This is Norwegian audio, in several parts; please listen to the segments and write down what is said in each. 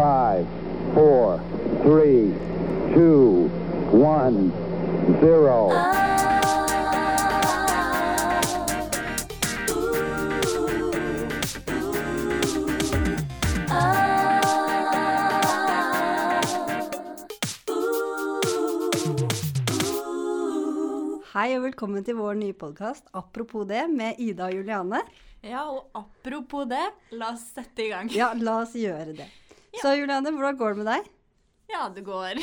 five, four, three, two, one, zero. Hei og velkommen til vår nye podkast 'Apropos det' med Ida og Juliane. Ja, og apropos det, la oss sette i gang. Ja, Ja, la oss gjøre det. Så Juliane, hvordan går det med deg? det går.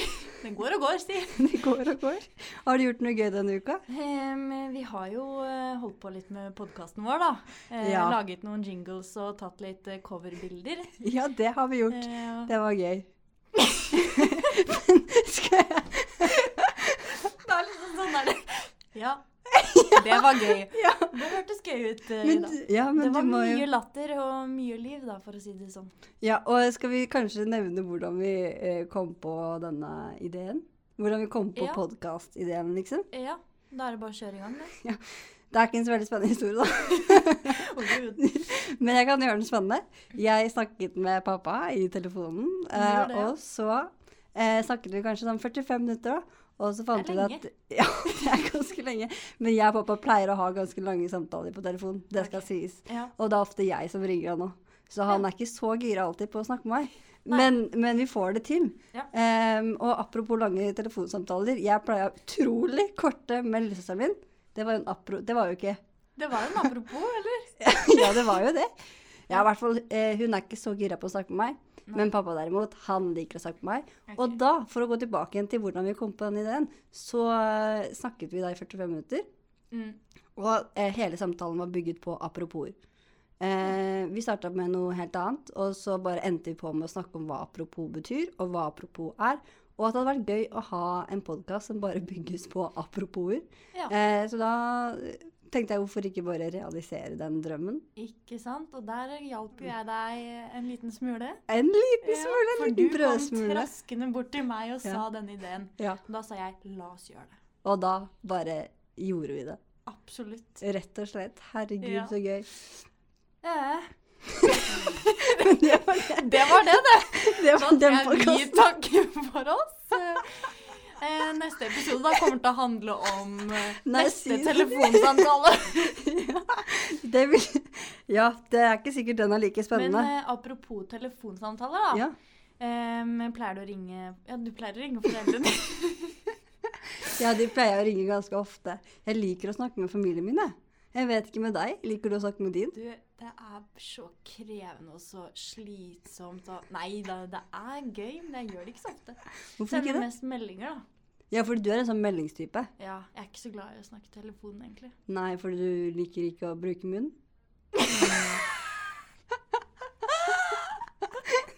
Det går og går, si. Det går og går. Har du gjort noe gøy denne uka? Em, vi har jo eh, holdt på litt med podkasten vår, da. Eh, Ja. Laget noen jingles og tatt litt eh, coverbilder. Ja, det har vi gjort. Eh, Det var gøy. Men skal jeg det er liksom sånn der Ja, det var gøy. Ja, Det hørtes gøy ut. eh, men, da. du- ja, men Det du var må mye jo latter og mye liv, da, for å si det sånn. Ja, og skal vi kanskje nevne hvordan vi eh, kom på denne ideen? Hvordan vi kom på Ja. podcast-ideen, liksom? Eh, Ja, da er det bare å kjøre i gang, det. Det er ikke en så veldig spennende historie, da. Å, Gud. Men jeg kan gjøre den spennende. Jeg snakket med pappa i telefonen, eh, gjorde det, ja. og så eh, snakket vi kanskje sånn 45 minutter, da. Og så fant Det vi er ut at Ja, det er ganske lenge. Men jeg og pappa pleier å ha ganske lange samtaler på telefon. Det skal sies. Ja. Og det er ofte jeg som ringer han òg. Så han er ikke så gira alltid på å snakke med meg. Nei. Men, men vi får det til. Ja. Em, og apropos lange telefonsamtaler. Jeg pleier å ha utrolig korte med lillesøsteren min. Det var jo, en apro det var jo ikke Det var jo en apropos, eller? ja, det var jo det. Ja, i hvert fall, eh, Hun er ikke så gira på å snakke med meg. Men pappa derimot, han liker å snakke med meg. Og da, for å gå tilbake igjen til hvordan vi kom på den ideen, så eh, snakket vi da i 45 minutter. Mm. Og eh, hele samtalen var bygget på apropos. Eh, vi starta med noe helt annet, og så bare endte vi på med å snakke om hva apropos betyr, og hva apropos er. Og at det hadde vært gøy å ha en podkast som bare bygges på aproposer. Ja. Eh, så da tenkte jeg hvorfor ikke bare realisere den drømmen? Ikke sant? Og der hjalp jo jeg deg en liten smule. Mm. En liten smule, Ja, en liten For du kom brødsmule. traskende bort til meg og sa Ja. denne ideen. Ja. Da sa jeg 'la oss gjøre det'. Og da bare gjorde vi det. Absolutt. Rett og slett. Herregud, Ja. så gøy. Eh, Men det var det. det var det, det! det Sånn Da var tror jeg den vi podkasten. takker for oss. Eh, neste episode da kommer til å handle om eh, Nei, si neste det. telefonsamtale. Det vil- Ja, det er ikke sikkert den er like Men spennende. eh, apropos telefonsamtaler, da. ja. Em, pleier du å ringe Ja, du pleier å ringe foreldrene dine. ja, de pleier å ringe ganske ofte. Jeg liker å snakke med familien min, jeg. Jeg vet ikke med deg. Liker du å snakke med din? Du, det er så krevende og så slitsomt og Nei da, det er gøy, men jeg gjør det ikke så ofte. Hvorfor ikke Sender det? mest meldinger, da. Ja, fordi du er en sånn meldingstype. Ja, jeg er ikke så glad i å snakke i telefonen, egentlig. Nei, fordi du liker ikke å bruke munn.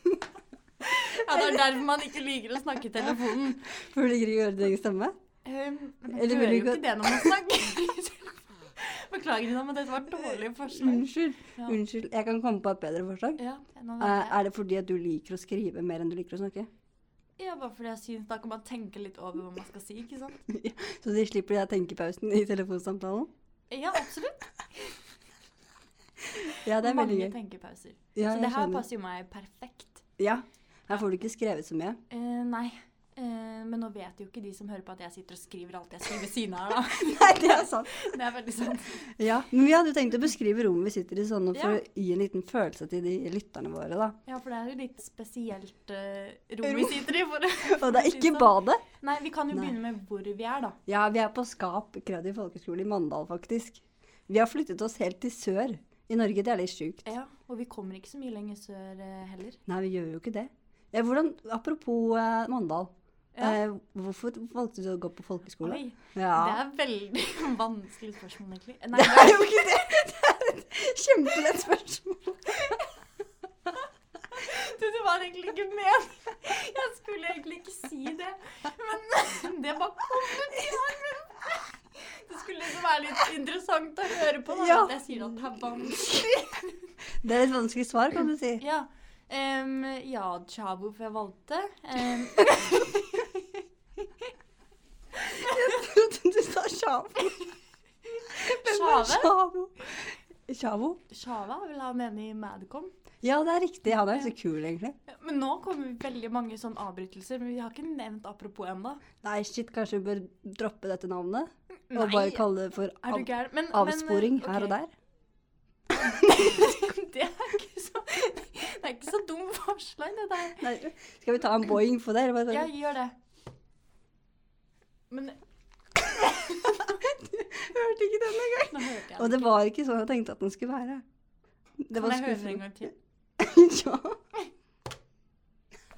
Ja, Det er derfor man ikke liker å snakke i telefonen. For du liker ikke å høre din egen stemme. Um, man Eller vil hører du jo ikke- ikke det når man snakker i telefonen. Beklager, Ina, men dette var et dårlig forslag. Unnskyld. Ja. Unnskyld. Jeg kan komme på et bedre forslag. Ja, nå Eh, vet jeg. Er det fordi at du liker å skrive mer enn du liker å snakke? ja, bare fordi jeg syns da kan man tenke litt over hva man skal si, ikke sant? Så de slipper de der tenkepausen i telefonsamtalen? Ja, absolutt. Ja, det er veldig Mange gøy. tenkepauser. Ja, Så jeg det her skjønner. passer jo meg perfekt. Ja. Her får du ikke skrevet så mye. Eh, nei. Eh, men nå vet jo ikke de som hører på at jeg sitter og skriver alt jeg skriver ved siden av her, da. Nei, det er sant. Det er veldig sant. Ja, Men vi hadde jo tenkt å beskrive rommet vi sitter i sånn for Ja. å gi en liten følelse til de lytterne våre, da. Ja, for det er jo litt spesielt eh, rom vi sitter i. For, Og det er ikke Liksom. badet. Nei, vi kan jo Nei. begynne med hvor vi er, da. Ja, vi er på Skap Kreativ folkeskole i Mandal, faktisk. Vi har flyttet oss helt til sør i Norge. Det er litt sjukt. Ja, Og vi kommer ikke så mye lenger sør eh, heller. Nei, vi gjør jo ikke det. Ja, hvordan, apropos eh, Mandal. Ja. Eh, hvorfor valgte du å gå på folkeskole? Oi, Ja. Det er veldig vanskelig spørsmål, egentlig. Eh, Det Nei, er jo ikke det! Det er et kjempelett spørsmål. du, det var egentlig ikke ment. Jeg skulle egentlig ikke si det, men det bare kom ut i armen. Det skulle liksom være litt interessant å høre på. Da. Ja. at Jeg sier at det er vanskelig. Det er et vanskelig svar, kan du si. Ja. Um, ja, tja, hvorfor jeg valgte? Em, Jeg trodde du sa sjavo. Sjave? Sjavo. Sjavo? Sjava vil ha mening i Madcom. Ja, det er riktig. Han er jo så kul, egentlig. Men nå kommer veldig mange sånne avbrytelser, men vi har ikke nevnt apropos ennå. Nei, shit, kanskje vi bør droppe dette navnet? Og Nei, bare kalle det for Er du av, gæren? Men- men, eh, avsporing her ok. og der? det er ikke så Det er ikke så dumt forslag, det der. Nei, skal vi ta en boing for det? Eller bare Jeg gjør det. Men hørte ikke denne gangen. nå hørte jeg det. Og det var ikke sånn jeg tenkte at den skulle være. Det Kan var jeg høre det en skuffende. gang til? ja,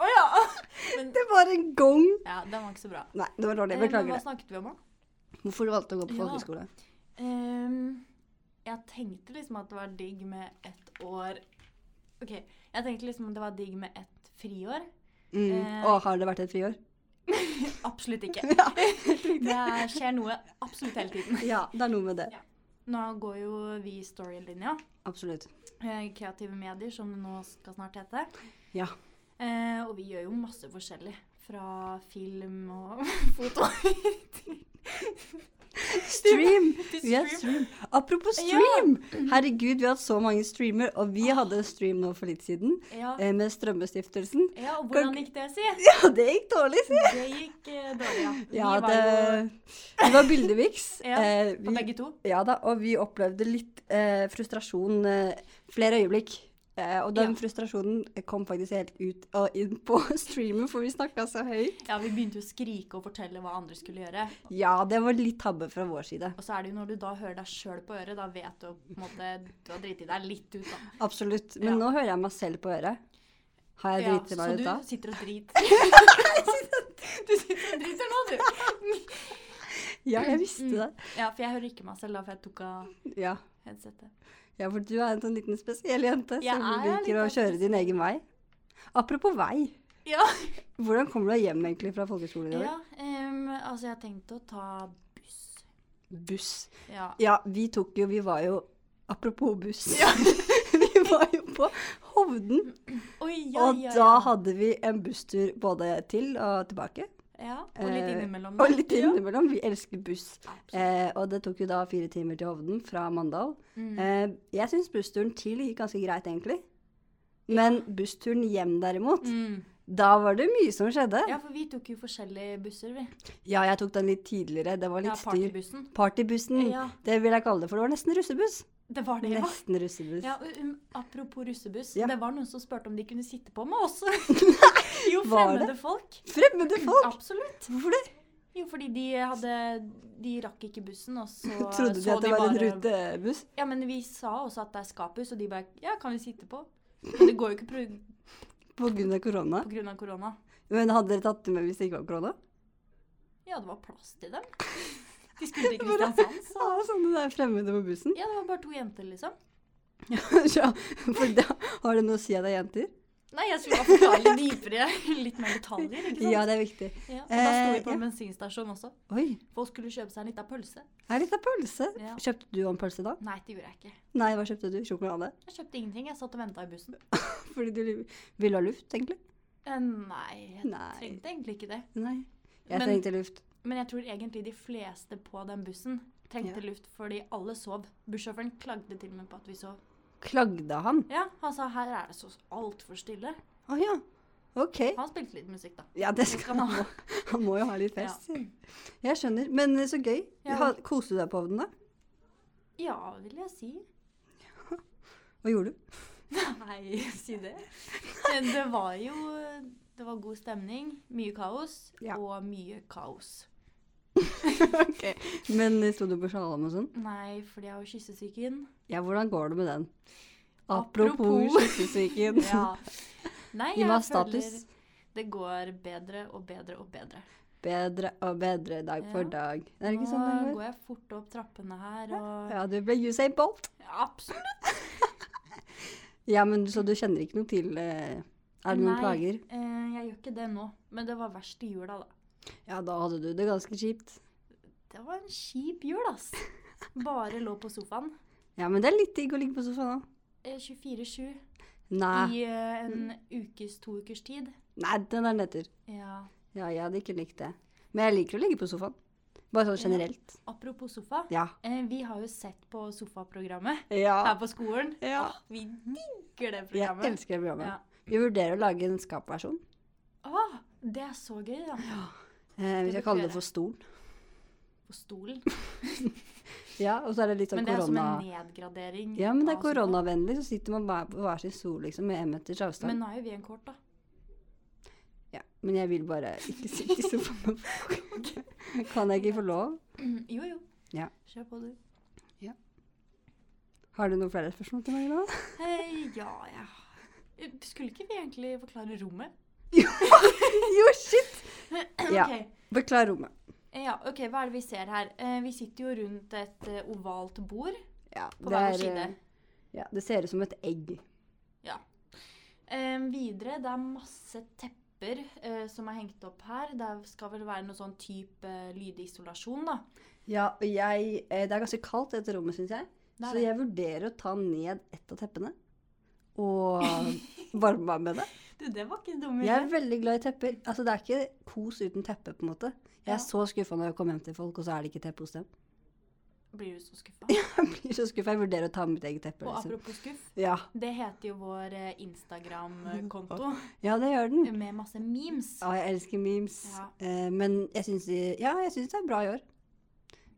Å ja! Men det var en gong. ja, den var ikke så bra. Nei, det var Eh, dårlig. Men Beklager hva det. snakket vi om, da? Hvorfor du valgte å gå på Ja. folkehøyskole? Ehm, jeg tenkte liksom at det var digg med ett år OK. Jeg tenkte liksom at det var digg med ett friår. Mm. Eh. Å, har det vært et friår? Absolutt ikke. Ja. Det skjer noe absolutt hele tiden. ja, det er noe med det. Nå går jo vi storylinja. Absolutt. eh, Kreative medier, som det nå skal snart hete. Ja. Eh, og vi gjør jo masse forskjellig. Fra film og foto. Stream! Til Vi har stream. stream. Apropos stream! Herregud, vi har hatt så mange streamer, og vi hadde en stream nå for litt siden Ja, eh, med Strømmestiftelsen. ja, og hvordan gikk det, si? Ja, det gikk dårlig, si! Det gikk eh, dårlig, ja. Vi Ja, var det, jo det var bildemiks. Ja, eh, på vi, begge to. ja da, og vi opplevde litt eh, frustrasjon eh, flere øyeblikk. Eh, og den Ja. frustrasjonen kom faktisk helt ut og inn på streamen, for vi snakka så høyt. Ja, Vi begynte jo å skrike og fortelle hva andre skulle gjøre. Ja, det var litt tabbe fra vår side. Og så er det jo når du da hører deg sjøl på øret, da vet du på en måte Du har driti deg litt ut, da. Absolutt. Men Ja. nå hører jeg meg selv på øret. Har jeg Ja, driti meg ut da? Så du sitter og driter. du sitter og driter nå, du. Ja, jeg Mm. visste det. Ja, for jeg hører ikke meg selv da, for jeg tok av Ja. headsetet. ja, for du er en sånn liten spesiell jente Jeg som er litt liker å kjøre din egen vei. Apropos vei, Ja. hvordan kommer du deg hjem egentlig fra folkehøyskolen i dag? ja em, altså, jeg har tenkt å ta buss. Buss. Ja. Ja, vi tok jo, vi var jo Apropos buss. vi var jo på Hovden, Oi, ja, og ja, da ja. hadde vi en busstur både til og tilbake. ja. Og litt Eh, innimellom. Og litt Ja. innimellom. Vi elsker buss. Absolutt. Eh, og det tok jo da fire timer til Hovden fra Mandal. Mm. Eh, jeg syns bussturen til gikk ganske greit, egentlig. Men bussturen hjem, derimot, Mm. da var det mye som skjedde. Ja, for vi tok jo forskjellige busser, vi. Ja, jeg tok den litt tidligere. Det var Ja, litt styr. Mm. partybussen. Partybussen. Ja. Det vil jeg kalle det, for det var nesten russebuss. Det var det, ja. Nesten russebuss. Ja, og, um, apropos russebuss. Ja. Det var noen som spurte om de kunne sitte på med oss. jo, var fremmede folk. Fremmede folk! Absolutt. Hvorfor det? Jo, fordi de hadde De rakk ikke bussen, og så Trodde de så at det var en bare- rutebuss? Ja, men vi sa også at det er skapus, og de bare Ja, kan vi sitte på? Men det går jo ikke pro- På grunn av korona. på grunn av korona. Men hadde dere tatt det med hvis det ikke var korona? Ja, det var plass til dem. De skulle til Kristiansand, Ja, så sånne der fremmede på bussen. Ja, det var bare to jenter, liksom. Ja, for da har det noe å si at det er jenter? Nei, jeg skulle bare forklare litt dypere. Litt mer detaljer, ikke sant? Ja, det er viktig. Ja, og da sto vi Eh, på en ja. bensinstasjon også. Oi, Folk skulle kjøpe seg en liten pølse. her er litt av pølse. Ja. Kjøpte du en pølse da? Nei, det gjorde jeg ikke. Nei, hva kjøpte du? Sjokolade? Jeg kjøpte ingenting. Jeg satt og venta i bussen. Fordi du li- ville ha luft, egentlig? Eh, Nei, jeg Nei. trengte egentlig ikke det. Nei. Jeg Men- trengte luft. Men jeg tror egentlig de fleste på den bussen trengte luft fordi alle sov. Bussjåføren klagde til og med på at vi sov. Klagde han? Ja, Han sa her er det så altfor stille. Å ja. Ok. Han spilte litt musikk, da. Ja, det skal skal han ha. han ha. Han må jo ha litt fest. sier han. Jeg skjønner. Men eh, så gøy. Ja. Ha, koste du deg på ovnen, da? Ja, vil jeg si. Hva gjorde du? Nei, si det. Eh, Det var jo Det var god stemning, mye kaos, Ja. og mye kaos. Men eh, sto du på slalåm og sånn? Nei, fordi jeg har jo kyssesyken. Ja, hvordan går det med den? Apropos Apropos. kyssesyken. Ja. Nei, Gi jeg meg føler status. det går bedre og bedre og bedre. Bedre og bedre dag for Ja. dag. Er det Nå ikke sånn det går? går jeg fort opp trappene her, og Ja, du ble Usain Bolt. Absolutt. Ja, men så du kjenner ikke noe til eh, Er det noen Nei, plager? Eh, jeg gjør ikke det nå, men det var verst i jula, da. Ja, da hadde du det ganske kjipt. Det var en kjip jul, ass. Bare lå på sofaen Ja, men det er litt digg å ligge på sofaen da. eh, 24-7 Nei, i eh, Mm. en ukes, to ukers tid. nei den er netter. Ja. Ja, jeg hadde ikke likt det. Men jeg liker å ligge på sofaen. Bare sånn generelt. Apropos sofa. Ja. Eh, vi har jo sett på sofaprogrammet her ja. på skolen. Mhm. Ja. Åh, vi digger det Jeg programmet. elsker det Ja. programmet. Vi vurderer å lage en skapversjon. Åh, det er så gøy, da. Eh, vi Det bør skal vi kalle det gjøre. for Stolen. På stolen. Ja, og så er det litt sånn Men det er som korona... en nedgradering. Ja, men det av er sofa. koronavennlig, så sitter man bare på hver sin stol liksom, med én meters avstand. Men Men, nå er jo vi en kort, da. ja, men jeg vil bare ikke sitte i sofaen. kan jeg ikke få lov? Jo, jo. Ja. Kjør på, du. Har du noen flere spørsmål til meg nå? Hei, ja, ja. Eh, Skulle ikke vi egentlig forklare rommet? jo, shit! Ja. Ok. Forklar rommet. Ja, ok, Hva er det vi ser her? Eh, vi sitter jo rundt et eh, ovalt bord Ja, på hver er, side. eh, Ja, det ser ut som et egg. Eh, videre, det er masse tepper eh, som er hengt opp her. Det skal vel være noe sånn type lydisolasjon, da. Ja, og jeg eh, Det er ganske kaldt i dette rommet, syns jeg. Det er Så det. jeg vurderer å ta ned ett av teppene. Og varme meg med det. Du, det var ikke en dum Jeg er veldig glad i tepper. Altså, Det er ikke kos uten teppe, på en måte. Jeg Ja. er så skuffa når jeg kommer hjem til folk, og så er det ikke teppe hos dem. Blir du så skuffa? Jeg blir så skuffa. Jeg vurderer å ta mitt eget teppe. Og Liksom. apropos skuff, Ja. det heter jo vår eh, Instagram-konto ja, det gjør den. med masse memes. Ja, jeg elsker memes. Ja. Eh, men jeg syns de, ja, jeg syns det er bra i år.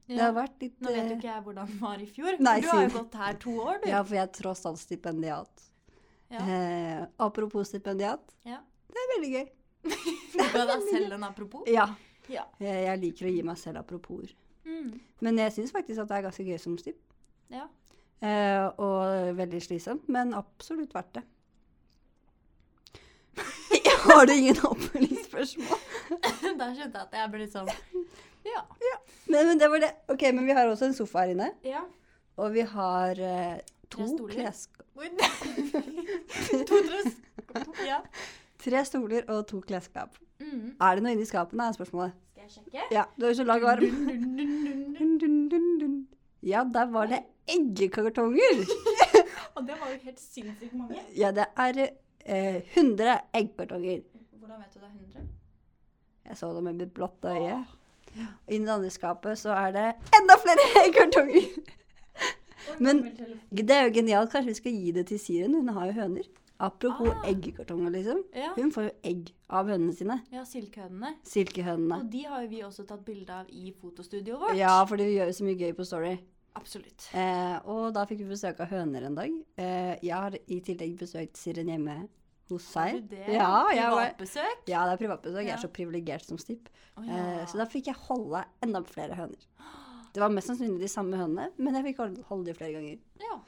Det Ja, har vært litt Nå vet jo eh, ikke jeg hvordan det var i fjor. Nei, du har jo si det. gått her to år, du. Ja, for jeg er tross alt stipendiat. Ja. Eh, apropos stipendiat. Ja. Det er veldig gøy. Du ga deg selv en apropos. Ja. Ja. Eh, jeg liker å gi meg selv apropos. Mm, Men jeg syns faktisk at det er ganske gøy som stip. ja. Eh, og veldig slitsomt, men absolutt verdt det. Har du ingen oppfølgingsspørsmål? Da skjønte jeg at jeg ble litt sånn Ja. Nei, men det var det. Ok, men vi har også en sofa her inne. ja. Og vi har eh, to stoler. klesskap. Oi, to dress. Ja. Tre stoler og to klesskap. Mm. Er det noe inni skapene, er spørsmålet. Skal jeg sjekke? Ja, du er jo så lag og varm. Dun, dun, dun, dun, dun. Dun, dun, dun, dun. Ja, der var det eggekartonger. Og det var jo helt sinnssykt mange. Ja, det er eh, 100 eggkartonger. Hvordan vet du det er 100? Jeg så det med mitt blotte øye. Og inni det andre skapet så er det enda flere eggkartonger. Oi, Men- gammel telefon. Det er jo genialt. Kanskje vi skal gi det til Siren? Hun har jo høner. Apropos Ah. eggekartonger, liksom. Ja. Hun får jo egg av hønene sine. ja, silkehønene. Silkehønene. Og de har jo vi også tatt bilde av i fotostudioet vårt. Ja, fordi vi gjør jo så mye gøy på Story. Absolutt. Eh, og da fikk vi besøk av høner en dag. Eh, jeg har i tillegg besøkt Siren hjemme hos Har seg. du det? Ja, jeg var, Privatbesøk? ja, det er privatbesøk. Jeg Ja. er så privilegert som stipp. Å, Eh, ja. så da fikk jeg holde enda flere høner. Det var mest sannsynlig de samme hønene, men jeg fikk holde, holde de flere ganger. ja.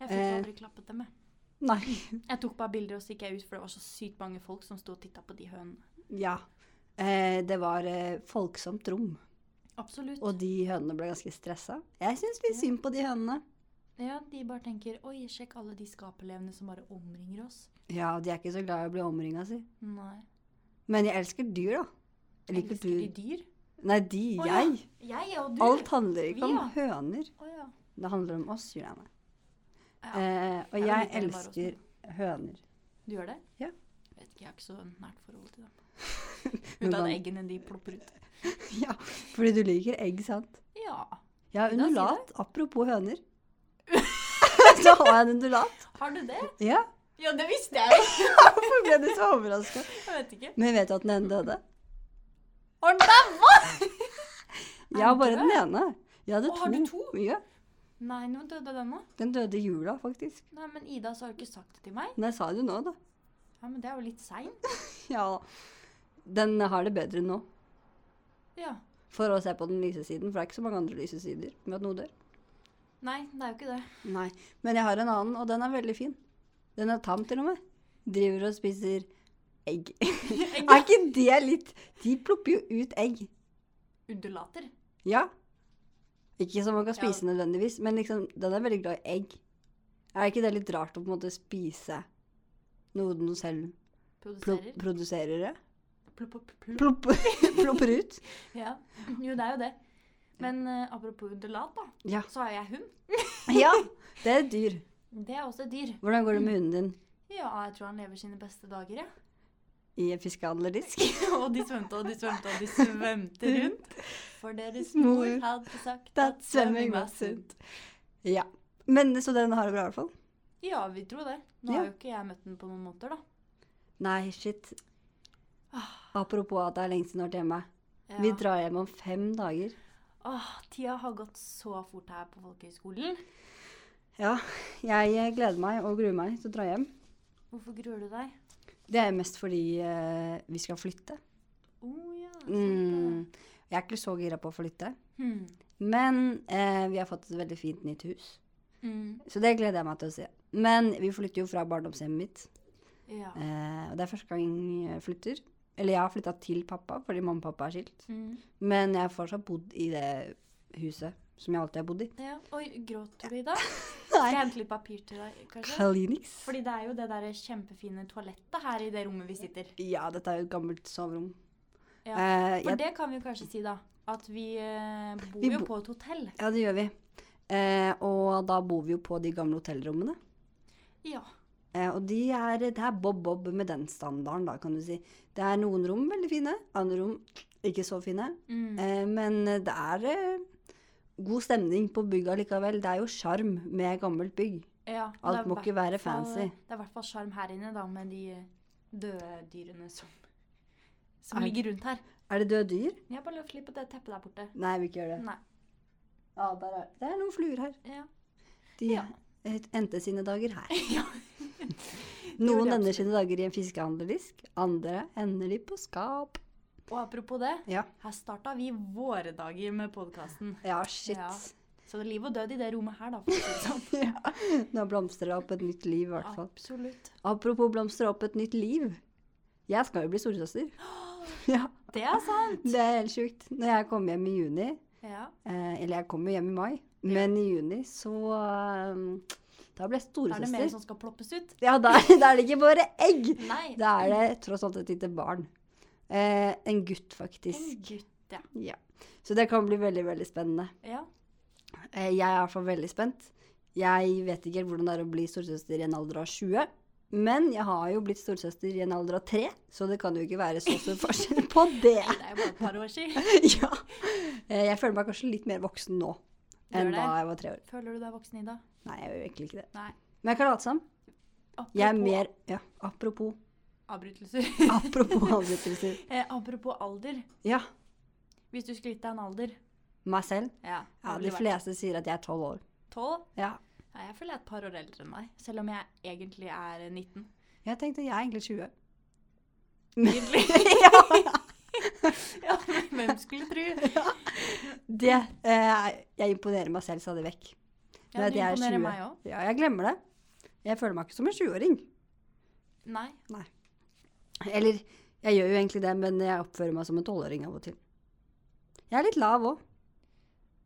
Jeg fikk Eh. aldri klappet dem, jeg. Nei. Jeg tok bare bilder og så gikk jeg ut, for det var så sykt mange folk som sto og titta på de hønene. Ja. Eh, det var eh, folksomt rom, Absolutt. og de hønene ble ganske stressa. Jeg syns litt synd på de hønene. Ja, de bare tenker Oi, sjekk alle de skapelevende som bare omringer oss. Ja, og de er ikke så glad i å bli omringa, si. Nei. Men jeg elsker dyr, da. Jeg liker Elsker de dyr. dyr? Nei, de, Å, ja. jeg. Jeg og du. Alt handler ikke om Vi, ja. høner. Å, ja. Det handler om oss, Juliane. Ja. Eh, og Jeg jeg, liker det bare også. elsker høner. Du gjør det? Ja. Vet ikke, jeg har ikke så nært forhold til dem. Men Ut av da- eggene de plopper ut. Ja, fordi du liker egg, sant? Ja. Jeg har Vil du ha si undulat. Apropos høner. Så har jeg en undulat. Har du det? Ja, Ja, det visste jeg jo! Hvorfor ble du så overraska? Jeg vet ikke. Men vet du at den ene døde? Har du daua? Ja, den bare død? den ene. Jeg hadde Å, har du to? Ja, Nei, nå døde den nå. den døde i jula, faktisk. Nei, men Ida, så har du ikke sagt det til meg. Nei, sa du nå, da. Ja, men det er jo litt seint. Ja. Den har det bedre nå. Ja. For å se på den lyse siden, for det er ikke så mange andre lyse sider med at noe dør. Nei, det er jo ikke det. Nei. Men jeg har en annen, og den er veldig fin. Den er tam, til og med. Driver og spiser egg. Egg. er ikke det litt De plopper jo ut egg. Undulater. Ja. Ikke som man kan Ja. spise nødvendigvis, men liksom, den er veldig glad i egg. Er ikke det litt rart å på en måte spise noe den selv plo Produserer. produserer? det? Plopp, plopp, plopp. Plopp, plopper ut? Ja. Jo, det er jo det. Men eh, apropos undulat, da. Ja. Så har jeg hund. ja. Det er et dyr. Det er også et dyr. Hvordan går det med hunden din? Ja, jeg tror han lever sine beste dager, jeg. i fiskehandlerdisk. Og de svømte og de svømte og de svømte rundt. For deres mor Mor hadde sagt at svømming var sunt. Ja. Men så den har det bra, i hvert fall? Ja, vi tror det. Nå Ja. har jo ikke jeg møtt den på noen måneder, da. Nei, shit. Apropos at det er lenge siden du har vært hjemme. Ah. Ja. Vi drar hjem om fem dager. Åh, tida har gått så fort her på folkehøyskolen. Ja, jeg eh, gleder meg og gruer meg til å dra hjem. Hvorfor gruer du deg? Det er mest fordi eh, vi skal flytte. Å ja, sant det. Mm. Jeg er ikke så gira på å flytte. Hmm. Men eh, vi har fått et veldig fint nytt hus. Mm. Så det gleder jeg meg til å se. Men vi flytter jo fra barndomshjemmet mitt. Ja. Eh, og det er første gang jeg flytter. Eller jeg har flytta til pappa, fordi mamma og pappa er skilt. Mm. Men jeg har fortsatt bodd i det huset som jeg alltid har bodd i. ja. Oi, gråter du i dag? Skal jeg Nei. hente litt papir til deg, kanskje? Kalinix. Fordi det er jo det der kjempefine toalettet her i det rommet vi sitter. Ja, dette er jo et gammelt soverom. Ja. Eh, For jeg, det kan vi jo kanskje si, da. At vi eh, bor Vi jo bo- på et hotell. ja, det gjør vi. Eh, og da bor vi jo på de gamle hotellrommene. Ja. Eh, og de er, det er bob-bob med den standarden, da, kan du si. Det er noen rom veldig fine, andre rom ikke så fine. Mm. Eh, men det er eh, god stemning på bygget likevel. Det er jo sjarm med gammelt bygg. ja. det alt er må hvert ikke være fall- fancy. Det er i hvert fall sjarm her inne, da, med de eh, døde dyrene som, som Er- ligger rundt her. Er det døde dyr? Jeg har bare lyst til å slippe det teppet der borte. Nei, vi ikke gjør det. Nei. Ja, der er, det er noen fluer her. Ja. De Ja. eh, endte sine dager her. ja. Noen det ender absolutt. sine dager i en fiskehandlerdisk, andre ender de på skap. Og apropos det, Ja, her starta vi våre dager med podkasten. ja shit. Ja. Så det er liv og død i det rommet her, da. For å si det sånn. Nå blomstrer det opp et nytt liv, i hvert fall. Absolutt. Apropos blomstre opp et nytt liv. Jeg skal jo bli storesøster. Ja, Det er sant. det er helt sjukt. Når jeg kom hjem i juni, Ja. eh, eller jeg kom jo hjem i mai, men i juni så eh, Da ble jeg Er det mer storesøster. som skal ploppes ut? Ja, da, da er det ikke bare egg! Nei. Da er det tross alt et lite barn. Eh, en gutt, En faktisk. gutt, ja. Ja. Så det kan bli veldig, veldig spennende. ja. Eh, jeg er i hvert fall veldig spent. Jeg vet ikke helt hvordan det er å bli storesøster i en alder av 20. Men jeg har jo blitt storesøster i en alder av 3, så det kan jo ikke være så stor forskjell på det. Det er jo bare et par år siden. ja. Eh, Jeg føler meg kanskje litt mer voksen nå enn Gjør det? da jeg var tre år. Føler du deg voksen, Ida? Nei, jeg gjør egentlig ikke det. Nei. Men jeg kan late som. Apropos Jeg er mer Ja, apropos. avbrytelser. Apropos avbrytelser. eh, apropos alder. Ja, Hvis du skulle gitt deg en alder meg selv. Ja, Ja, de fleste sier at jeg er tolv år. Tolv? Ja. Ja, jeg føler jeg er et par år eldre enn deg. Selv om jeg egentlig er 19. Jeg tenkte jeg er egentlig 20. Egentlig. ja. ja, men hvem skulle tro? Det eh, Jeg imponerer meg selv stadig vekk. Ja, Med at du jeg er imponerer 20. meg òg. Ja, jeg glemmer det. Jeg føler meg ikke som en 20-åring. Nei. Eller jeg gjør jo egentlig det, men jeg oppfører meg som en 12-åring av og til. Jeg er litt lav òg.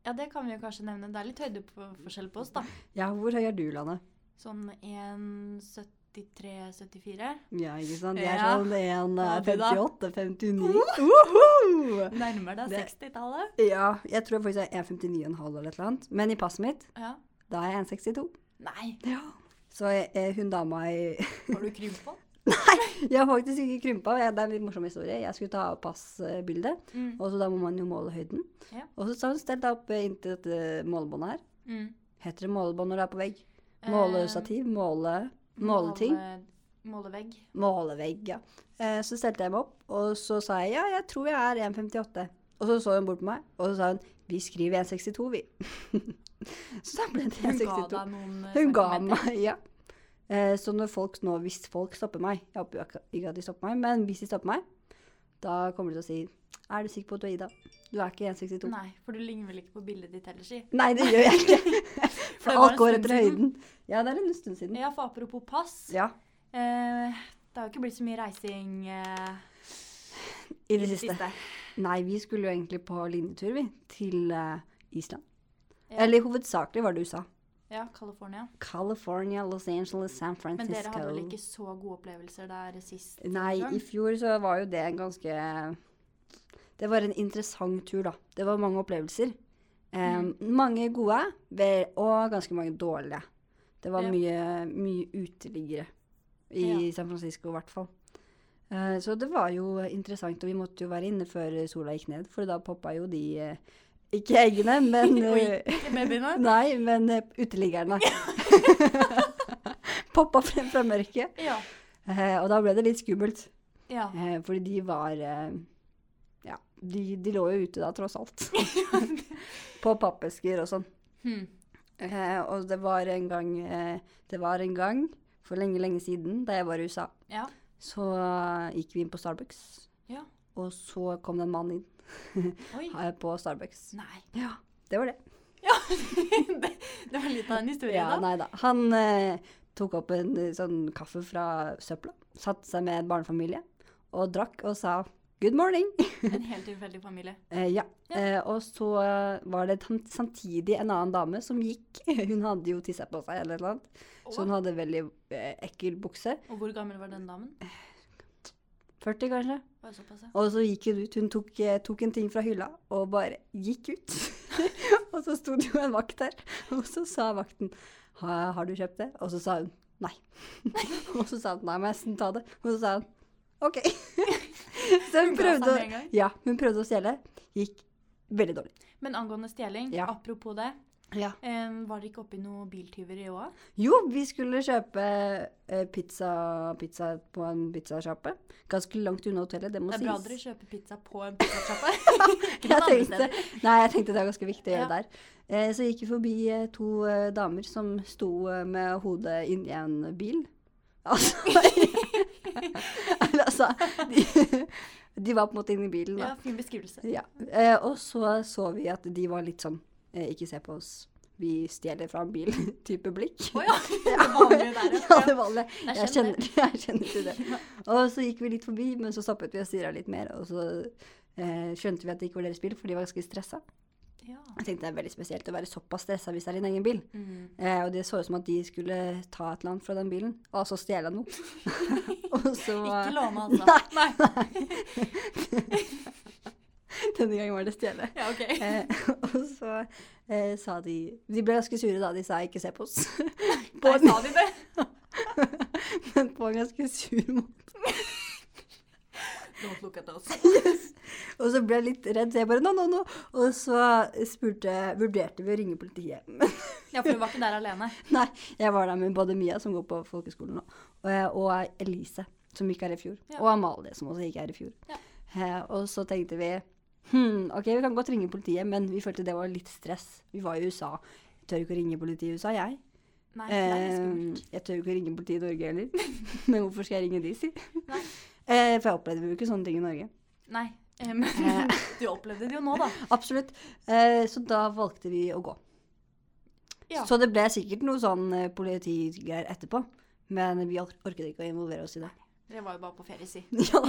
Ja, det kan vi jo kanskje nevne. Det er litt høydeforskjell på oss, da. Ja, hvor høy er du, Lane? Sånn 1,73-74. Ja, ikke sant? Jeg er Ja. sånn en, eh, Ja, du da. 58-59. Uhuhu! Nærmer deg Det- 60-tallet. Ja, jeg tror faktisk jeg er 1,59,5 eller et eller annet. Men i passet mitt, Ja. da er jeg 1,62. Nei, Så jeg, eh, hun dama i har du krympa? Jeg har faktisk ikke krympa. Jeg, det er en morsom historie. Jeg skulle ta av passbildet, Mm. og så da må man jo måle høyden. Ja. Og så sa hun stell deg opp eh, inntil dette målebåndet her. Mm. Heter det målebånd når det er på vegg? Eh, Målestativ, måle, måleting. Måle, målevegg. Målevegg, ja. Eh, Så stelte jeg meg opp, og så sa jeg ja, jeg tror jeg er 1,58. Og så så hun bort på meg, og så sa hun vi skriver 1,62, vi. så da ble det Hun ga 1,62. deg noen eh, Hun ga centimeter. meg, ja. Eh, Så når folk nå, hvis folk stopper meg Jeg håper jo ikke ikke at de stopper meg, men hvis de stopper meg, da kommer de til å si Er du sikker på at du er Ida? Du er ikke 1,62. Nei. Nei, for du ligner vel ikke på bildet ditt ellers, si. det gjør jeg ikke. det var For en alt går stund etter høyden. Ja, det er en stund siden. Ja, for apropos pass. Ja, Eh, det har jo ikke blitt så mye reising eh, i det siste. Nei, vi skulle jo egentlig på linjetur, vi, til eh, Island. Ja. Eller hovedsakelig var det USA. Ja, California. California, Los Angeles, San Men Francisco. dere hadde vel ikke så gode opplevelser der sist? Nei, i fjor så var jo det en ganske Det var en interessant tur, da. Det var mange opplevelser. Em, Mm. Mange gode ve- og ganske mange dårlige. Det var Ja. mye, mye uteliggere i Ja. San Francisco, i hvert fall. Eh, Så det var jo interessant, og vi måtte jo være inne før sola gikk ned, for da poppa jo de eh, Ikke eggene, men Oi, eh, ikke babyene. Nei, men eh, uteliggerne. poppa frem fra mørket. Ja. Eh, Og da ble det litt skummelt, ja. eh, fordi de var eh, Ja, de, de lå jo ute da, tross alt. På pappesker og sånn. Hmm. Eh, og det var en gang eh, Det var en gang for lenge, lenge siden, da jeg var i USA, ja. så gikk vi inn på Starbucks. Ja. Og så kom det en mann inn Oi. eh, på Starbucks. Nei. Ja, det var det. Ja. det, det var litt av en historie, Ja, da. nei da. Han eh, tok opp en eh, sånn kaffe fra søpla, satte seg med en barnefamilie og drakk og sa 'good morning'. En helt tilfeldig familie. Eh, ja. Ja. Eh, og så var det tam- samtidig en annen dame som gikk. Hun hadde jo tissa på seg eller noe annet, Og, så hun hadde veldig eh, ekkel bukse. og hvor gammel var den damen? 40, kanskje. Var det såpass, ja? Og så gikk hun ut. Hun tok, eh, tok en ting fra hylla og bare gikk ut. og så sto det jo en vakt der, og så sa vakten ha, 'Har du kjøpt det?' Og så sa hun nei. og så sa hun 'Nei, må nesten ta det'. Og så sa hun 'OK'. Hun så hun ga seg prøvde, med en å, gang. ja, hun prøvde å stjele. Gikk veldig dårlig. Men angående stjeling, Ja. apropos det. em, var dere ikke oppi noen biltyveri òg? Jo, vi skulle kjøpe eh, pizza, pizza på en pizzasjappe. Ganske langt unna hotellet, det må Det er sies. bra dere kjøper pizza på en pizzasjappe. Ikke jeg noen andre tenkte, steder. nei, jeg tenkte det var ganske viktig å gjøre Ja. der. Eh, så gikk vi forbi eh, to eh, damer som sto eh, med hodet inni en bil. Altså, Eller, altså de, de var på en måte inni bilen, da. Ja, fin beskrivelse. Ja. Eh, og så så vi at de var litt sånn eh, Ikke se på oss, vi stjeler fra en bil-type blikk. Å ja. Det vanlige der, Ja, det ja. var det. Jeg Jeg kjenner kjenner, jeg kjenner til det. Og så gikk vi litt forbi, men så stoppet vi og stirra litt mer. Og så eh, skjønte vi at det ikke var deres bil, for de var ganske stressa. ja. Jeg tenkte det er veldig spesielt å være såpass stressa hvis det er din egen bil. Mm. Eh, og det så ut som at de skulle ta et eller annet fra den bilen, og altså stjele noe. og så Ikke låne, altså. Nei. Denne gangen var det stjele. Ja, ok. Eh, og så eh, sa de De ble ganske sure da de sa 'ikke se på oss'. Nei, på, en, sa de det? men på en ganske sur måte. Don't look at us. Og så ble jeg litt redd, så jeg bare 'no, no, no'. Og så spurte, vurderte vi å ringe politiet. Men Ja, for du var ikke der alene. nei, jeg var der med både Mia, som går på folkeskolen nå, og, eh, og Elise, som gikk her i fjor. Ja. Og Amalie, som også gikk her i fjor. Ja. Eh, og så tenkte vi hm, OK, vi kan godt ringe politiet, men vi følte det var litt stress. Vi var i USA. Jeg tør ikke å ringe politiet i USA, jeg. Nei, det er litt Eh, skummelt. jeg tør jo ikke å ringe politiet i Norge heller. Men hvorfor skal jeg ringe de, si? Nei. Eh, for jeg opplevde jo ikke sånne ting i Norge. Nei. eh, Men du opplevde det jo nå, da. Absolutt. Eh, så da valgte vi å gå. Ja. Så det ble sikkert noe sånn eh, politigreier etterpå. Men vi or- orket ikke å involvere oss i det. Dere var jo bare på ferie, si. Ja,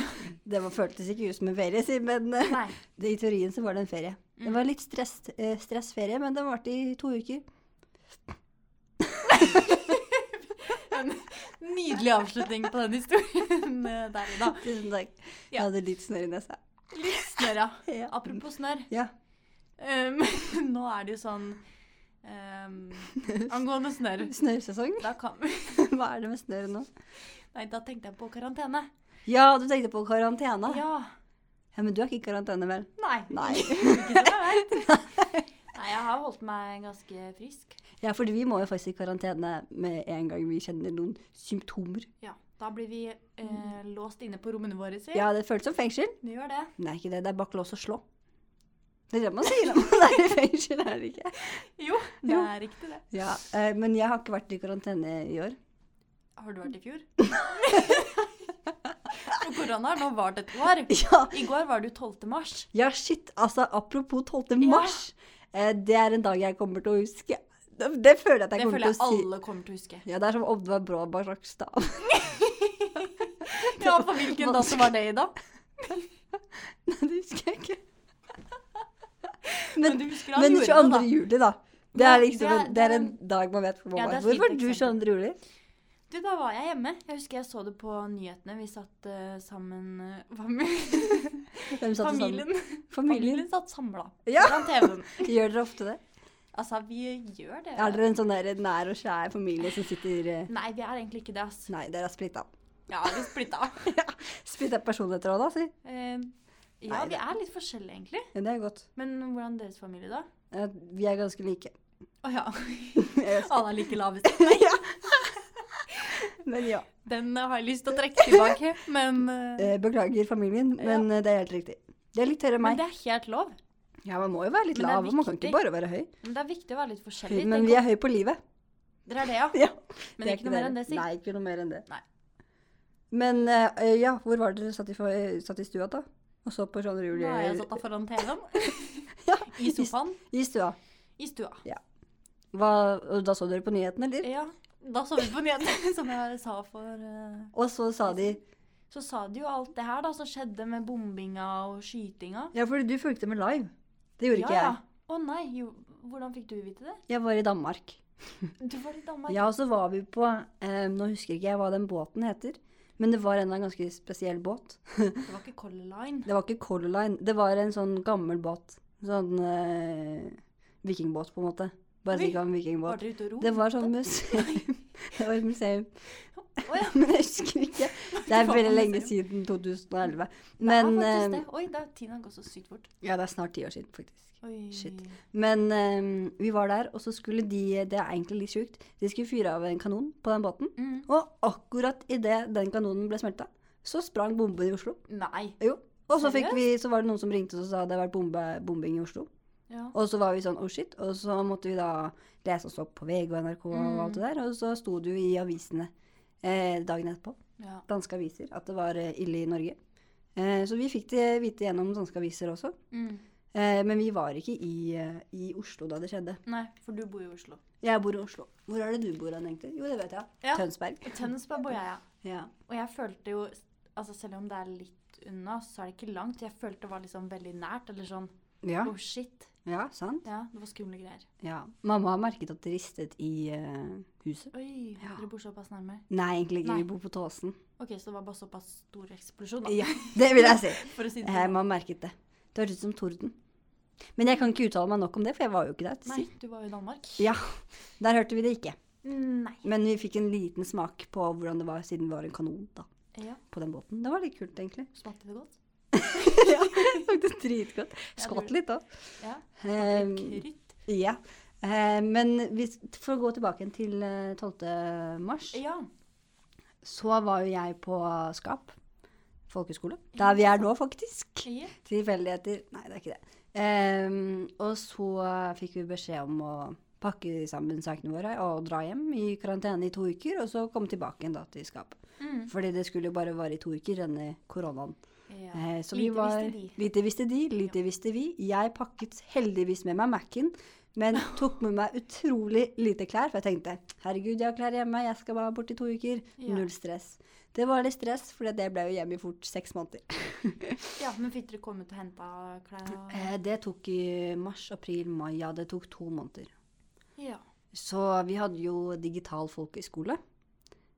Det var, føltes ikke ut som en ferie, si, men eh, Nei. Mm. det, i teorien så var det en ferie. Det var litt stress, eh, stressferie, men den varte i to uker. En nydelig avslutning på den historien eh, der, da. Tusen takk. Jeg Ja. hadde litt snørr i nesa. Litt snørr, ja. Ja. Apropos snørr. Ja. Um, nå er det jo sånn um, Angående snørr. Snørrsesong? Da, kan, Hva er det med snørr nå? nei, da tenkte jeg på karantene. Ja, du tenkte på karantene? Ja. Ja, Men du er ikke i karantene, vel? Nei. Nei. Ikke som jeg vet. Nei, jeg har holdt meg ganske frisk. Ja, fordi vi må jo faktisk i karantene med en gang vi kjenner noen symptomer. Ja. Da blir vi eh, låst inne på rommene våre, si. Mm. Ja, det føles som fengsel. Du gjør det. Nei, ikke det. Det er bak lås og slå. Det er det man sier når man er i fengsel, er det ikke? Jo, det Jo. er riktig, det. Ja, eh, Men jeg har ikke vært i karantene i år. Har du vært i fjor? For korona har nå vart et år. Ja, I går var det jo 12. mars. ja shit. Altså, apropos 12. Ja. mars. eh, Det er en dag jeg kommer til å huske. Det, det føler jeg at jeg Det kommer føler til å jeg si. alle kommer til å huske. Ja, Det er som Oddvar Bråberg Rakstad. Ja, på hvilken dato var det i dag? Nei, det husker jeg ikke. Men du husker han Men gjorde det, 22. da. juli, da. Det Ja, er liksom det er- en, det det er er en dag man vet hvor man Ja, det er var. et Hvor fint var du eksempel. 22. juli? Du, da var jeg hjemme. Jeg husker jeg så det på nyhetene. Vi satt eh, sammen eh, hva med- Hvem satt sammen? Familien. Familien. Familien satt samla Ja. foran TV-en. Gjør dere ofte det? Altså, vi gjør det. Er dere en sånn der nær og skjær familie som sitter eh, Nei, vi er egentlig ikke det, ass. Nei, dere er splitta. Ja, vi splitta. Spytt et personligheter òg, da, si. Eh, ja, Nei, vi det- er litt forskjellige, egentlig. Ja, det er godt. Men hvordan er deres familie, da? Eh, Vi er ganske like. Å ja. Jeg vet. Alle er like lave. Men ja. Den eh, har jeg lyst til å trekke tilbake, men, eh, Eh, Beklager familien, men eh, det er helt riktig. Det er litt høyere enn men meg. det er helt lov. Ja, man må jo være litt Men det er lav. Man kan viktig. ikke bare være høy. Men det er viktig å være litt forskjellig. Men tenk vi om- er høy på livet. Dere er det, ja? Ja. Men det er ikke noe mer enn det, dere. Sig. Nei, ikke noe mer enn det. Nei. Men eh, ja, hvor var dere satt i, for- eh, satt i stua da? Og så på Nå sånn har jeg julie... satt deg foran TV-en. Ja, I sofaen. I stua. I stua. Hva, og da så dere på nyheten, eller? Ja. Da så vi på nyhetene, som jeg sa for eh, Og så sa de Så sa de jo alt det her da, som skjedde med bombinga og skytinga. Ja, for du fulgte med live. Det gjorde ikke jeg. Å nei, jo, hvordan fikk du vite det? Jeg var i Danmark. Du var i Danmark. Ja, og så var vi på eh, Nå husker ikke jeg hva den båten heter, men det var en eller annen ganske spesiell båt. Det var ikke Color Line. Det var ikke Color Line, det var en sånn gammel båt. Sånn eh, vikingbåt, på en måte. Bare Oi, si gammel Var vikingbåt. dere ute og ro? Det var sånn museum. det var et museum. Å ja. Men jeg husker ikke. Det Det er var veldig lenge museum. siden 2011. Det er Men faktisk eh, det. Oi, da, tiden går så sykt fort. Ja, det er snart ti år siden, faktisk. Oi. Shit. Men eh, vi var der, og så skulle de Det er egentlig litt sjukt. De skulle fyre av en kanon på den båten. Mm. Og akkurat idet den kanonen ble smelta, så sprang bomben i Oslo. Nei. Jo. Og så, fikk vi, så var det noen som ringte oss og sa det hadde vært bombe, bombing i Oslo. Ja. Og så var vi sånn oh shit. Og så måtte vi da lese oss opp på VG og NRK Mm. og alt det der. Og så sto det jo i avisene eh, dagen etterpå, ja. danske aviser, at det var eh, ille i Norge. Eh, så vi fikk det vite gjennom danske aviser også. Mm. Eh, men vi var ikke i, eh, i Oslo da det skjedde. Nei, for du bor jo i Oslo. Jeg bor i Oslo. Hvor er det du bor hen, egentlig? Jo, det vet jeg. Ja. Tønsberg. I Tønsberg bor jeg, ja. Ja. Og jeg følte jo Altså, selv om det er litt unna, så er det ikke langt. Jeg følte det var liksom veldig nært, eller sånn Ja, Oh, shit. ja sant? Ja, det var skumle greier. Ja. Mamma har merket at det ristet i eh, huset. Oi, Ja. dere bor såpass nærme. Nei, egentlig ikke. Nei. Vi bor på Tåsen. Ok, så det var bare såpass stor eksplosjon, da. Ja, det vil jeg si. For å si det Eh, sånn. man har merket det. Det hørtes ut som torden. Men jeg kan ikke uttale meg nok om det, for jeg var jo ikke der. Nei, du var jo i Danmark. Ja, Der hørte vi det ikke. Nei. Men vi fikk en liten smak på hvordan det var siden det var en kanon da, Ja, på den båten. Det var litt kult, egentlig. smakte det godt? ja, faktisk dritgodt. Skvatt litt òg. Ja. Eh, Krytt. ja. Eh, men hvis, for å gå tilbake igjen til eh, 12. mars, Ja. så var jo jeg på Skap folkehøgskole. Der vi er nå, faktisk. ja. Tilfeldigheter Nei, det er ikke det. Ehm, og så fikk vi beskjed om å pakke sammen sakene våre og dra hjem i karantene i to uker, og så komme tilbake igjen da til skapet. Mm. Fordi det skulle jo bare vare i to uker, denne koronaen. ja. Eh, så vi Lite var, visste de. Lite visste de, lite visste vi. Jeg pakket heldigvis med meg Mac-en, men tok med meg utrolig lite klær, for jeg tenkte herregud, jeg har klær hjemme, jeg skal bare bort i to uker. Ja. Null stress. Det var litt stress, for det ble jo hjemme i fort seks måneder. Ja, men fikk dere kommet og henta klær og Eh, Det tok i mars, april, mai. Ja, det tok to måneder. Ja. Så vi hadde jo digital folkehøyskole.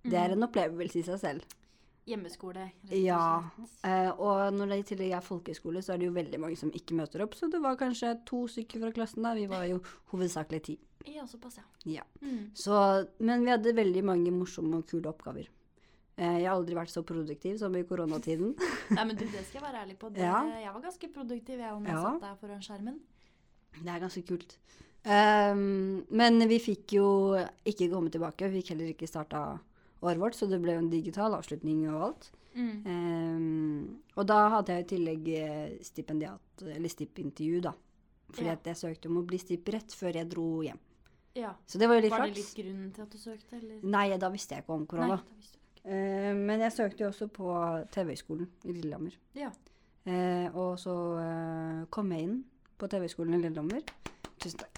Det Mm. er en opplevelse i seg selv. Hjemmeskole, rett og slett. Ja. Eh, Og når det i tillegg er folkehøyskole, så er det jo veldig mange som ikke møter opp. Så det var kanskje to stykker fra klassen der. Vi var jo hovedsakelig ti. Ja, såpass, ja. Ja. Mm. Så, men vi hadde veldig mange morsomme og kule oppgaver. Eh, Jeg har aldri vært så produktiv som i koronatiden. Nei, men du, det skal jeg være ærlig på. Det, Ja. Jeg var ganske produktiv, jeg, om jeg Ja. satt der foran skjermen. Det er ganske kult. Ehm, men vi fikk jo ikke komme tilbake. Vi fikk heller ikke starta året vårt, så det ble jo en digital avslutning og alt. Mm. Ehm, og da hadde jeg i tillegg eh, stipendiat, eller stippintervju, da. Fordi Ja. at jeg søkte om å bli stipp rett før jeg dro hjem. Ja. Så det var jo litt Var det flaks. litt grunnen til at du søkte, eller? Nei, da visste jeg ikke om korona. da visste du ikke. Ehm, men jeg søkte jo også på TV-høgskolen i Lillehammer. Ja. Eh, og så eh, kom jeg inn på TV-høgskolen i Lillehammer. Tusen takk.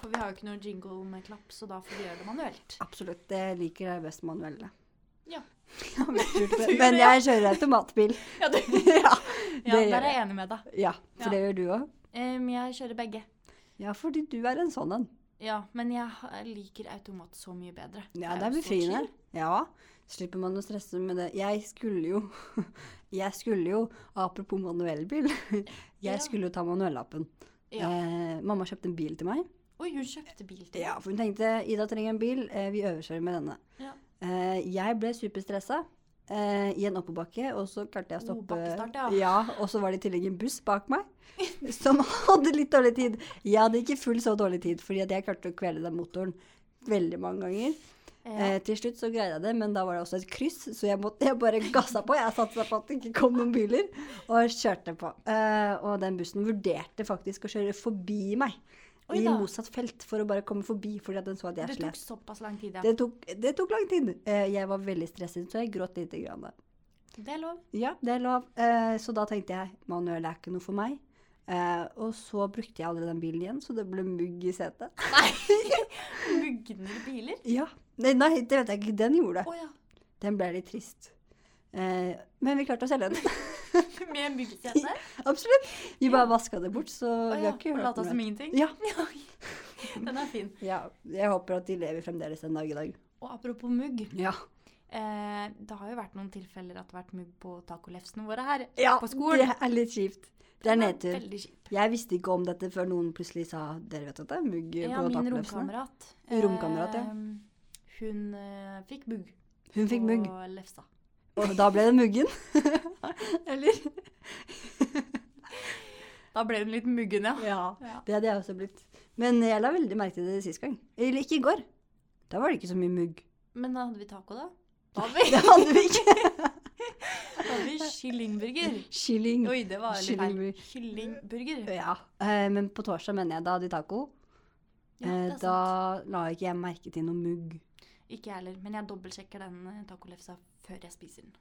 For vi har jo ikke noe jingle med klapp, så da får vi gjøre det manuelt. Absolutt. Jeg liker det best manuelle. Ja. Men jeg kjører automatbil. Ja, du. ja, ja det der gjør er jeg. jeg enig med deg. Ja, for Ja. det gjør du òg? Em, jeg kjører begge. Ja, fordi du er en sånn en. Ja, men jeg ha- liker automat så mye bedre. Ja, jo det er så befriende. chill. Ja. Slipper man å stresse med det. Jeg skulle jo Jeg skulle jo, apropos manuellbil, Ja. jeg skulle jo ta manuellappen. Ja. Eh, mamma kjøpte en bil til meg. Oi, hun kjøpte bil til Ja, For hun tenkte Ida trenger en bil, eh, vi øverkjører med denne. Ja. Eh, jeg ble superstressa eh, i en oppoverbakke, og så klarte jeg å Oh, stoppe bakkestart, ja. Og så var det i tillegg en buss bak meg som hadde litt dårlig tid. Jeg hadde ikke full så dårlig tid, fordi at jeg klarte å kvele den motoren veldig mange ganger. Eh, til slutt så greide jeg det, men da var det også et kryss, så jeg, måtte, jeg bare gassa på. Jeg satsa på at det ikke kom noen biler, og kjørte på. Eh, og den bussen vurderte faktisk å kjøre forbi meg. Oi I da. motsatt felt, for å bare komme forbi, fordi at den så at jeg Det tok slet. såpass lang tid, ja. Det tok, det tok lang tid. Eh, Jeg var veldig stresset, så jeg gråt lite grann. da. Det er lov. Ja, det er lov. Eh, Så da tenkte jeg manuell er ikke noe for meg. Eh, Og så brukte jeg aldri den bilen igjen, så det ble mugg i setet. Nei! Mugner biler? Ja. Nei, nei, det vet jeg ikke. Den gjorde Å det. ja. Den ble litt trist. Eh, Men vi klarte å selge den. Med muggsete? Absolutt. Vi bare vaska det bort, så Å vi ja. har ikke Og hørt lata noe som mer. ingenting? Ja. Den er fin. ja. Jeg håper at de lever fremdeles en dag i dag. Og apropos mugg. Ja. Eh, det har jo vært noen tilfeller at det har vært mugg på tacolefsene våre her ja på skolen. Det er litt kjipt. Det er Den nedtur. Veldig kjip. Jeg visste ikke om dette før noen plutselig sa Dere vet at det er mugg Ja, på min taklefsene? romkamerat. Romkamerat, ja. eh, Hun eh, fikk mugg. Hun fikk mugg, På lefsa. og da ble det muggen. Eller? Da ble hun litt muggen, ja. Ja. Ja. Det hadde jeg også blitt. Men jeg la veldig merke til det sist gang. Eller ikke i går. Da var det ikke så mye mugg. Men da hadde vi taco, da. Da hadde vi, Det hadde vi ikke. da hadde vi kyllingburger. Kylling. Oi, det var litt feil. Kyllingburger. Kyllingburger. Ja. eh, Men på torsdag mener jeg da hadde vi taco. Ja, det Eh, er Da sant. la ikke jeg merke til noe mugg. Ikke jeg heller, men jeg dobbeltsjekker den eh, tacolefsa før jeg spiser den.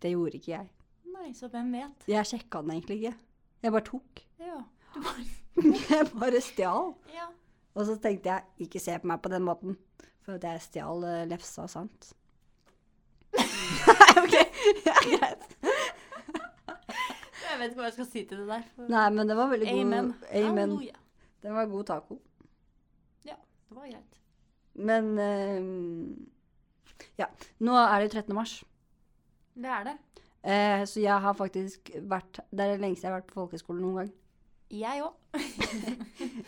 Det gjorde ikke jeg. Nei, så hvem vet? Jeg sjekka den egentlig ikke. Jeg bare tok. Ja. Du bare, Jeg bare stjal. ja. Og så tenkte jeg, ikke se på meg på den måten. For at jeg stjal eh, lefsa, sant? Nei, ok. Ja, greit. Jeg vet ikke hva jeg skal si til det der. for- Nei, men det var veldig god Amen. Amen. Halleluja. Det var god taco. Ja, det var greit. Men eh, Ja. Nå er det jo 13. mars. Det er det. Eh, så jeg har faktisk vært Det er det lengste jeg har vært på folkehøyskole noen gang. Jeg òg.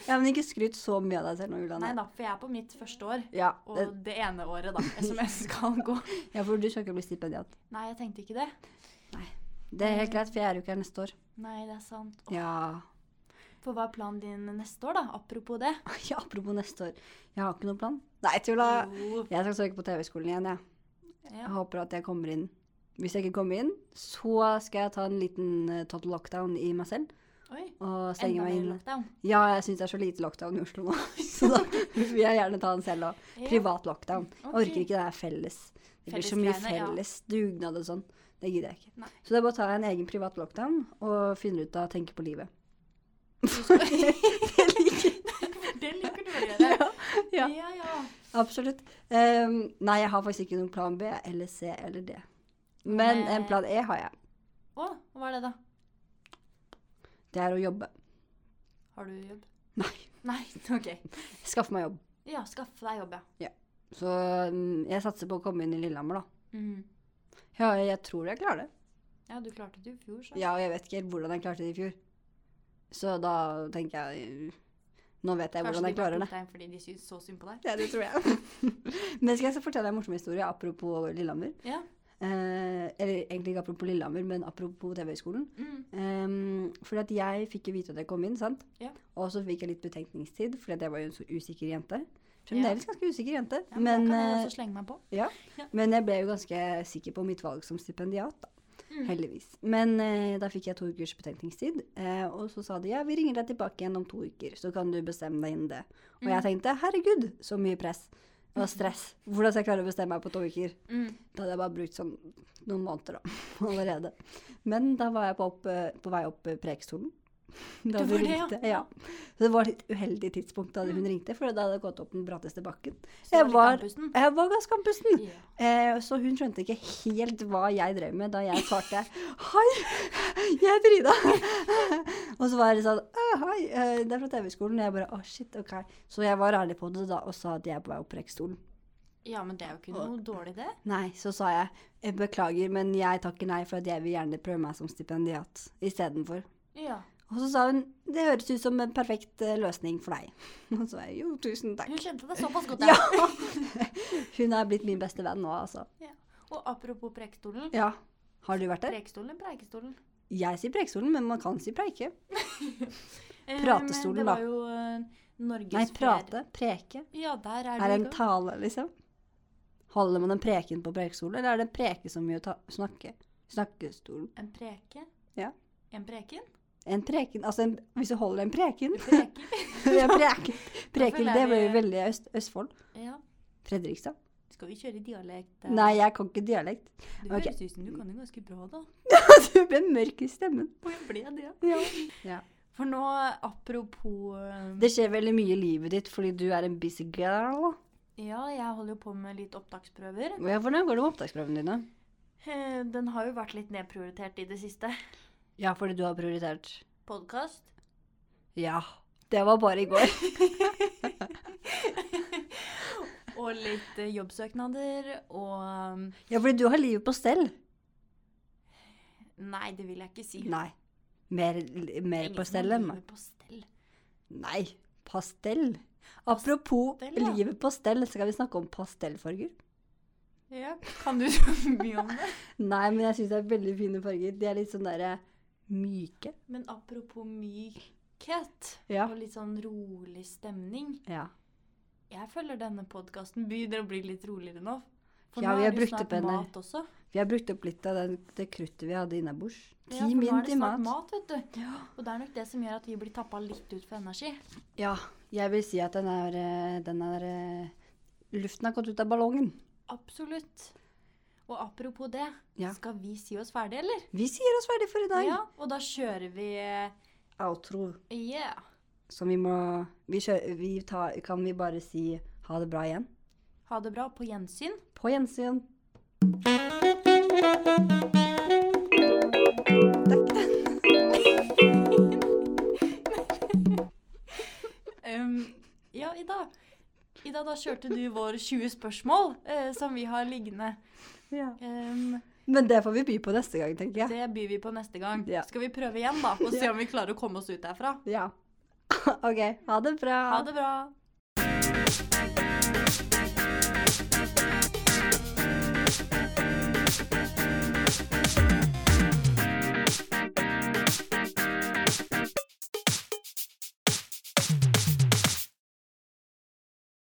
Ja, Men ikke skryt så mye av deg selv nå, Nei Juliane. da, for jeg er på mitt første år. Ja, Og det, det ene året, da, som jeg skal gå. ja, for du skal ikke bli stipendiat. Nei, jeg tenkte ikke det. Det er helt greit, for jeg er jo ikke her neste år. Nei, det er sant. Å, Ja. For hva er planen din neste år, da? Apropos det. ja, Apropos neste år. Jeg har ikke noen plan. Nei, tulla. Jo. Jeg skal søke på TV-skolen igjen, jeg. Jeg Ja. håper at jeg kommer inn. Hvis jeg ikke kommer inn, så skal jeg ta en liten eh, total lockdown i meg selv. Oi. Og stenge Enda meg mer inn. lockdown. Ja, jeg syns det er så lite lockdown i Oslo nå, så da vil jeg gjerne ta den selv òg. Ja. Privat lockdown. Jeg Ok. orker ikke det her felles. Det blir så mye Fellesgreiene, ja. felles dugnad og sånn. Det gidder jeg ikke. Nei. Så da bare tar jeg en egen privat lockdown og finner ut av å tenke på livet. Det liker du å gjøre. Ja. ja. ja. Absolutt. Ehm, nei, jeg har faktisk ikke noen plan B eller C eller D. Men Nei. en plan E har jeg. Å, hva er det, da? Det er å jobbe. Har du jobb? Nei. Nei, OK. Skaffe meg jobb. Ja, skaff deg jobb, ja. Så mm, jeg satser på å komme inn i Lillehammer, da. Mm. Ja, jeg tror jeg klarer det. Ja, du klarte det jo i fjor, så. Ja, og jeg vet ikke helt hvordan jeg klarte det i fjor. Så da tenker jeg mm, Nå vet jeg hvordan jeg klarer det. Kanskje de bare tok deg fordi de syntes så synd på deg. Ja, det tror jeg. Men skal jeg så fortelle deg en morsom historie apropos Lillehammer? Ja. Eh, eller egentlig ikke apropos Lillehammer, men apropos TV-høgskolen. Mm. Um, fordi at jeg fikk jo vite at jeg kom inn, sant? Ja. Og så fikk jeg litt betenkningstid, fordi at jeg var jo en så usikker jente. Fremdeles ganske usikker jente, Ja, men, da men, kan jeg eh, også slenge meg på. Ja. Ja. Men jeg ble jo ganske sikker på mitt valg som stipendiat, da. Mm. Heldigvis. Men eh, da fikk jeg to ukers betenkningstid, eh, og så sa de ja, vi ringer deg tilbake igjen om to uker, så kan du bestemme deg innen det. Og Mm. jeg tenkte herregud, så mye press og stress. Hvordan skal jeg klare å bestemme meg på to uker? Mm. Da hadde jeg bare brukt sånn noen måneder da, allerede. Men da var jeg på, opp, eh, på vei opp eh, Preikestolen. Da Du var hun det, ja. Mm. ringte, ja. Så det var et litt uheldig tidspunkt da hun ringte, for da hadde jeg gått opp den bratteste bakken. Så Jeg litt var, andpusten. jeg var ganske andpusten. Ja. Eh, så hun skjønte ikke helt hva jeg drev med da jeg svarte Hei, jeg er Frida. og så var det sånn «Å, Hei, eh, det er fra TV-skolen. Og jeg bare Å, shit, OK. Så jeg var ærlig på det da og sa at jeg er på vei opp Preikestolen. ja, men det er jo ikke noe dårlig, det. Nei, så sa jeg «Jeg beklager, men jeg takker nei for at jeg vil gjerne prøve meg som stipendiat istedenfor. Ja. Og så sa hun det høres ut som en perfekt eh, løsning for deg. Og så er jeg jo tusen takk. Hun kjente det såpass godt. Ja. Ja. Hun er blitt min beste venn nå, altså. Ja. Og apropos prekestolen. Ja. Har du vært der? Prekestolen eller preikestolen? Jeg sier preikestolen, men man kan si preike. Eh, Pratestolen, men da. Det var jo eh, Norges Nei, fjer- prate. Preke. Ja, der er, Er det det en tale, liksom? Holder man en preken på prekestolen, eller er det en preke som gjør ta snakke? Snakkestolen. En preke? Ja. En preken? En preken, altså en, hvis du holder en preken Preker? en preken, preken føler det jeg blir jo vi- veldig øst, Østfold. ja. Fredrikstad. Skal vi kjøre dialekt? eh? Nei, jeg kan ikke dialekt. Det ok. høres ut som du kan jo ganske bra, da. Du ble mørk i stemmen. Og jeg ble det. Ja. For nå, apropos eh, Det skjer veldig mye i livet ditt fordi du er en busy girl. Ja, jeg holder jo på med litt opptaksprøver. Ja, Hvordan går det med opptaksprøvene dine? Eh, Den har jo vært litt nedprioritert i det siste. Ja, fordi du har prioritert. Podkast. Ja. Det var bare i går. Og litt eh, jobbsøknader og um, Ja, fordi du har livet på stell. Nei, det vil jeg ikke si. Nei. Mer, mer Ingen på som driver stellet. men- På stell. Nei, pastell. Apropos Pastell, ja. livet på stell, skal vi snakke om pastellfarger? Ja, kan du så mye om det? Nei, men jeg syns det er veldig fine farger. De er litt sånn derre myke. Men apropos mykhet Ja. og litt sånn rolig stemning Ja. Jeg føler denne podkasten begynner å bli litt roligere nå. For Ja, nå vi er har det brukt jo snart opp henne. mat også. Vi har brukt opp litt av den, det kruttet vi hadde innabords. Ti Ja, for nå min er det til snart mat. mat, vet du. Og det er nok det som gjør at vi blir tappa litt ut for energi. Ja, jeg vil si at den er, eh, den er eh, Luften har gått ut av ballongen. Absolutt. Og apropos det, Ja. skal vi si oss ferdige, eller? Vi sier oss ferdig for i dag. Ja, og da kjører vi eh, Outro. Yeah. Som vi må vi kjø- vi tar, Kan vi bare si ha det bra igjen? Ha det bra. På gjensyn. På gjensyn. Takk. Um, ja, Ida. Ida, da kjørte du vår 20 spørsmål eh, som vi har liggende. Ja. Um, Men det får vi by på neste gang, tenker jeg. det byr vi på neste gang. Ja. Skal vi prøve igjen, da? Og se om vi klarer å komme oss ut derfra. Ja. OK. Ha det bra. Ha det bra.